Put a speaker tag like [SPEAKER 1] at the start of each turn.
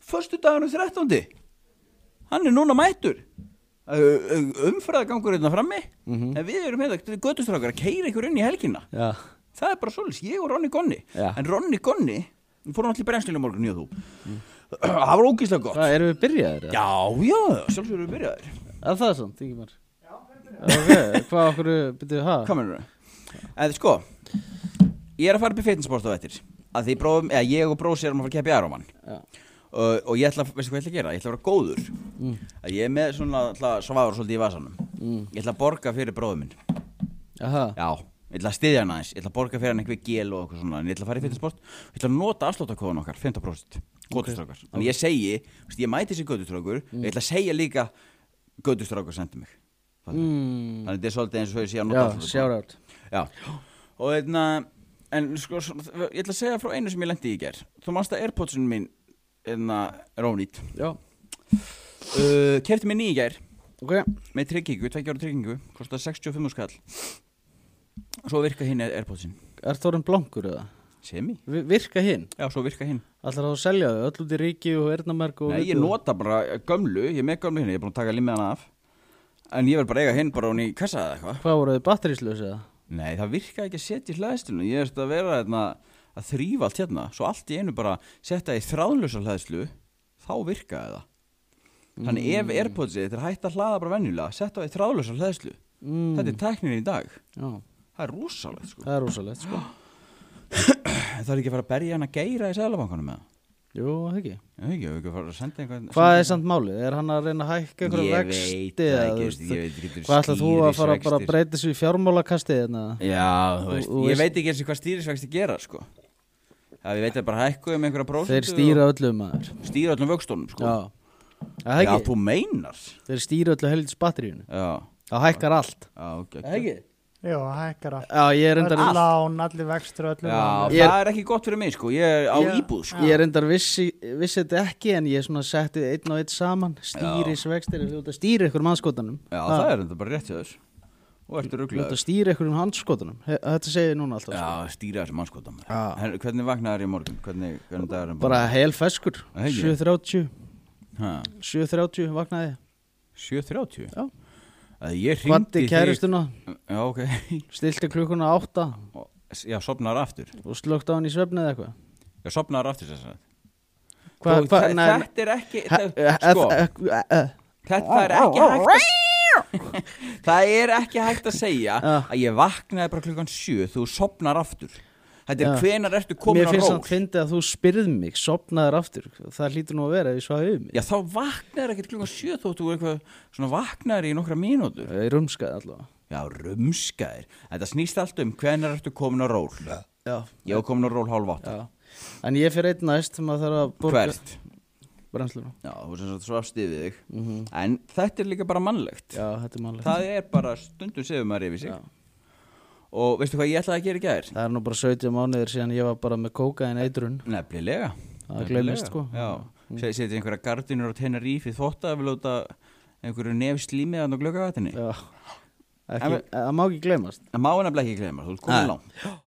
[SPEAKER 1] förstu dagunum 13. Hann er núna mættur umfræðagangur einna hérna frammi en við erum hérna, göttustrákar að keira ykkur inn í helgina
[SPEAKER 2] Já,
[SPEAKER 1] það er bara svolítið, ég og Ronny Gonni
[SPEAKER 2] Já.
[SPEAKER 1] en Ronny Gonni, við fórum allir brennslega morgun ég og þú, það var ógíslega gott
[SPEAKER 2] hvað, erum við byrjaðir? eða?
[SPEAKER 1] já, já, sjálfsögur við byrjaðir
[SPEAKER 2] Er það samt, Ingimar? Já, ok, hvað okkur byrjuðu það?
[SPEAKER 1] hvað mennur það? eða sko, ég er að fara upp í fitnessbort á eftir að því bróðum, eða ég og bróðs erum að fara að keppi Aroman
[SPEAKER 2] Já.
[SPEAKER 1] uh, og ég ætla, veistu hvað ég ætla að gera? Ég ætla að vera góður
[SPEAKER 2] Mm.
[SPEAKER 1] að ég er með svona, ætla að svafara svolítið í vasanum
[SPEAKER 2] Mm.
[SPEAKER 1] ég ætla að borga fyrir bróðum minn
[SPEAKER 2] Aha,
[SPEAKER 1] Já, ég ætla að styðja hann aðeins Ég ætla að borga fyrir hann einhver gél og eitthvað svona En ég ætla
[SPEAKER 2] Mm.
[SPEAKER 1] að fara í fitnessport Ég ætla að nota afsláttakóðan okkar, 15% Götustrákar Þannig ég segi, veist, ég mæti þessi götustrákur
[SPEAKER 2] Mm.
[SPEAKER 1] Ég ætla að segja líka Götustrákur sendi mig Fattar?
[SPEAKER 2] mm.
[SPEAKER 1] Þannig þetta er svolítið eins og ég sé að
[SPEAKER 2] já,
[SPEAKER 1] nota
[SPEAKER 2] shout out
[SPEAKER 1] afsláttakóðan Já, og einna En sko, svo- ég ætla að segja frá einu sem ég lendi í ger Þú manst að Airpodsun mín einna, Rónít
[SPEAKER 2] Já,
[SPEAKER 1] uh, Kefti mér ný í gær
[SPEAKER 2] ok,
[SPEAKER 1] Með tryggingu, tveggja ára tryggingu Kostaði 65 skall Svo virka hinn Airpodsin
[SPEAKER 2] er Þorinn blankur eða?
[SPEAKER 1] Semi
[SPEAKER 2] Vi- Virka hinn?
[SPEAKER 1] Já, svo virka hinn
[SPEAKER 2] Ætlar það að selja þau, öll út í ríki og erðnamerk og
[SPEAKER 1] Nei, ég nota bara gömlu, ég er með gömlu hinn, ég er búin að taka limmiðan af En ég verð bara að eiga hinn bara hún í kassa eða eitthvað
[SPEAKER 2] Hvað voru þau batteríslaus eða?
[SPEAKER 1] Nei, það virka ekki að setja í hlæðsluna Ég veist að vera hérna, að þrýfa allt hérna Svo allt í einu bara setja í þráðlösa hlæðslu Þá virkaði það Þannig
[SPEAKER 2] Mm.
[SPEAKER 1] ef Airpodsið þetta er hægt að hlaða bara venjulega Setta það í þráðlösa hlæðslu
[SPEAKER 2] Mm.
[SPEAKER 1] Þetta er tæknin í dag
[SPEAKER 2] Já,
[SPEAKER 1] Það er rosalegt sko
[SPEAKER 2] það er rosalegt sko
[SPEAKER 1] En Það er ekki að fara að berja hann að geira í sæðlabankanum með
[SPEAKER 2] Jú, það ekki
[SPEAKER 1] það Ekki, ef ekki að fara að senda einhvern
[SPEAKER 2] Hvað er samt málið? Er hann að reyna að hækka ykkur
[SPEAKER 1] Ég veit
[SPEAKER 2] vexti?
[SPEAKER 1] það
[SPEAKER 2] eða,
[SPEAKER 1] ekki,
[SPEAKER 2] þú
[SPEAKER 1] ég
[SPEAKER 2] veist,
[SPEAKER 1] veit- ég veit ekki, getur
[SPEAKER 2] Hvað ætlar þú að fara bara að
[SPEAKER 1] stýrisvextir?
[SPEAKER 2] breyta þessu í fjármálakasti hérna?
[SPEAKER 1] Já, þú veist,
[SPEAKER 2] þú
[SPEAKER 1] ég
[SPEAKER 2] veist-
[SPEAKER 1] veit ekki eins og hvað stýrisvexti gera, sko. Já, ég veit að bara hækku um einhverja prósentu.
[SPEAKER 2] Þeir stýra öllu maður
[SPEAKER 1] og stýra öllum vöxtunum, sko.
[SPEAKER 2] Já, Er það
[SPEAKER 1] Já,
[SPEAKER 2] ekki
[SPEAKER 1] þú meinar.
[SPEAKER 2] Þeir stýra öllu helgis batteríunu
[SPEAKER 1] Já,
[SPEAKER 2] Það hækkar allt
[SPEAKER 1] já, ok.
[SPEAKER 2] Er það ekki?
[SPEAKER 3] Jó, það hækkar allt
[SPEAKER 2] Já, ég er reyndar
[SPEAKER 3] Öll lán, allir vextur,
[SPEAKER 1] Já,
[SPEAKER 3] öllu lán
[SPEAKER 2] Ég er-
[SPEAKER 1] það er ekki gott fyrir mig, sko. Ég er á
[SPEAKER 3] Já.
[SPEAKER 1] íbúð, sko.
[SPEAKER 2] Ég er reyndar vissi, vissi þetta ekki en ég svona setti einn og einn saman stýrisvextir, þú ert að stýra ykkur um handskotanum
[SPEAKER 1] Já, það er þetta bara rétt hjá þess. Og ertu
[SPEAKER 2] Þú ert
[SPEAKER 1] rugglaður.
[SPEAKER 2] að stýra ykkur um handskotanum He- Þetta segir ég núna alltaf
[SPEAKER 1] Já,
[SPEAKER 2] sko.
[SPEAKER 1] stýra þessu mannskóta maður.
[SPEAKER 2] Já.
[SPEAKER 1] Her- Hvernig vaknaður í morgun? Hvernig, hvernig dagur er í morgun?
[SPEAKER 2] sko. Bara hel feskur
[SPEAKER 1] Það er ekki.
[SPEAKER 2] 7.30
[SPEAKER 1] Ha,
[SPEAKER 2] 7.30 vaknaði
[SPEAKER 1] 7.30?
[SPEAKER 2] Já.
[SPEAKER 1] Að Ég
[SPEAKER 2] Kvatti
[SPEAKER 1] hringdi
[SPEAKER 2] kæristuna,
[SPEAKER 1] Já, ok.
[SPEAKER 2] stilti klukkuna 8
[SPEAKER 1] Og- Já, sopnar aftur.
[SPEAKER 2] og slögt á hann í svefni eða eitthvað
[SPEAKER 1] Já, sopnar aftur, sér sagt.
[SPEAKER 2] Hva,
[SPEAKER 1] Þú-
[SPEAKER 2] hva,
[SPEAKER 1] þe-
[SPEAKER 2] nei, eh,
[SPEAKER 1] Þetta er ekki...
[SPEAKER 2] he-
[SPEAKER 1] þe- Sko,
[SPEAKER 2] he- he- he-
[SPEAKER 1] Þetta það er ekki hægt að Það er ekki hægt að segja
[SPEAKER 2] Já.
[SPEAKER 1] að ég vaknaði bara klukkan sjö þú sopnar aftur Þetta er
[SPEAKER 2] Já.
[SPEAKER 1] hvenar ertu komin
[SPEAKER 2] Mér
[SPEAKER 1] á
[SPEAKER 2] finnst
[SPEAKER 1] ról
[SPEAKER 2] hann fyndi að þú spyrð mig sopnaðir aftur, það hlýtur nú að vera ef ég svaði um mig
[SPEAKER 1] Já þá vaknaði ekki klukkan sjö þú þú eitthvað svona vaknaði í nokkra mínútur
[SPEAKER 2] Ég rumskaði allavega
[SPEAKER 1] Já rumskaðir Þetta snýst allt um hvenar ertu komin á ról
[SPEAKER 2] Já,
[SPEAKER 1] Ég var komin á ról hálf átt
[SPEAKER 2] Já, en ég fyrir einn næst þegar maður þarf að borga
[SPEAKER 1] Hvert
[SPEAKER 2] brennsluna
[SPEAKER 1] Já þú sem sagt svafst yfir þig En þetta er líka bara mannlegt
[SPEAKER 2] Mhm. Já, þetta er mannlegt
[SPEAKER 1] Það er bara stundum sefum maður yfir sig
[SPEAKER 2] Já.
[SPEAKER 1] Og veistu hvað ég ætlaði að gera í gær?
[SPEAKER 2] Það er nú bara 17 mánuðir síðan ég var bara með kókaðin eitrun
[SPEAKER 1] Nefnilega
[SPEAKER 2] Það
[SPEAKER 1] Nefnilega.
[SPEAKER 2] gleymist, sko.
[SPEAKER 1] Já, Se- setja einhverja gardinur á tennaríf í þótt að við láta einhverju nef slímið að glöggavatinni
[SPEAKER 2] Já,
[SPEAKER 1] En
[SPEAKER 2] ekki, það má ekki gleymast
[SPEAKER 1] Það má nefnilega ekki gleyma, þú ert komin
[SPEAKER 2] Nei.
[SPEAKER 1] langt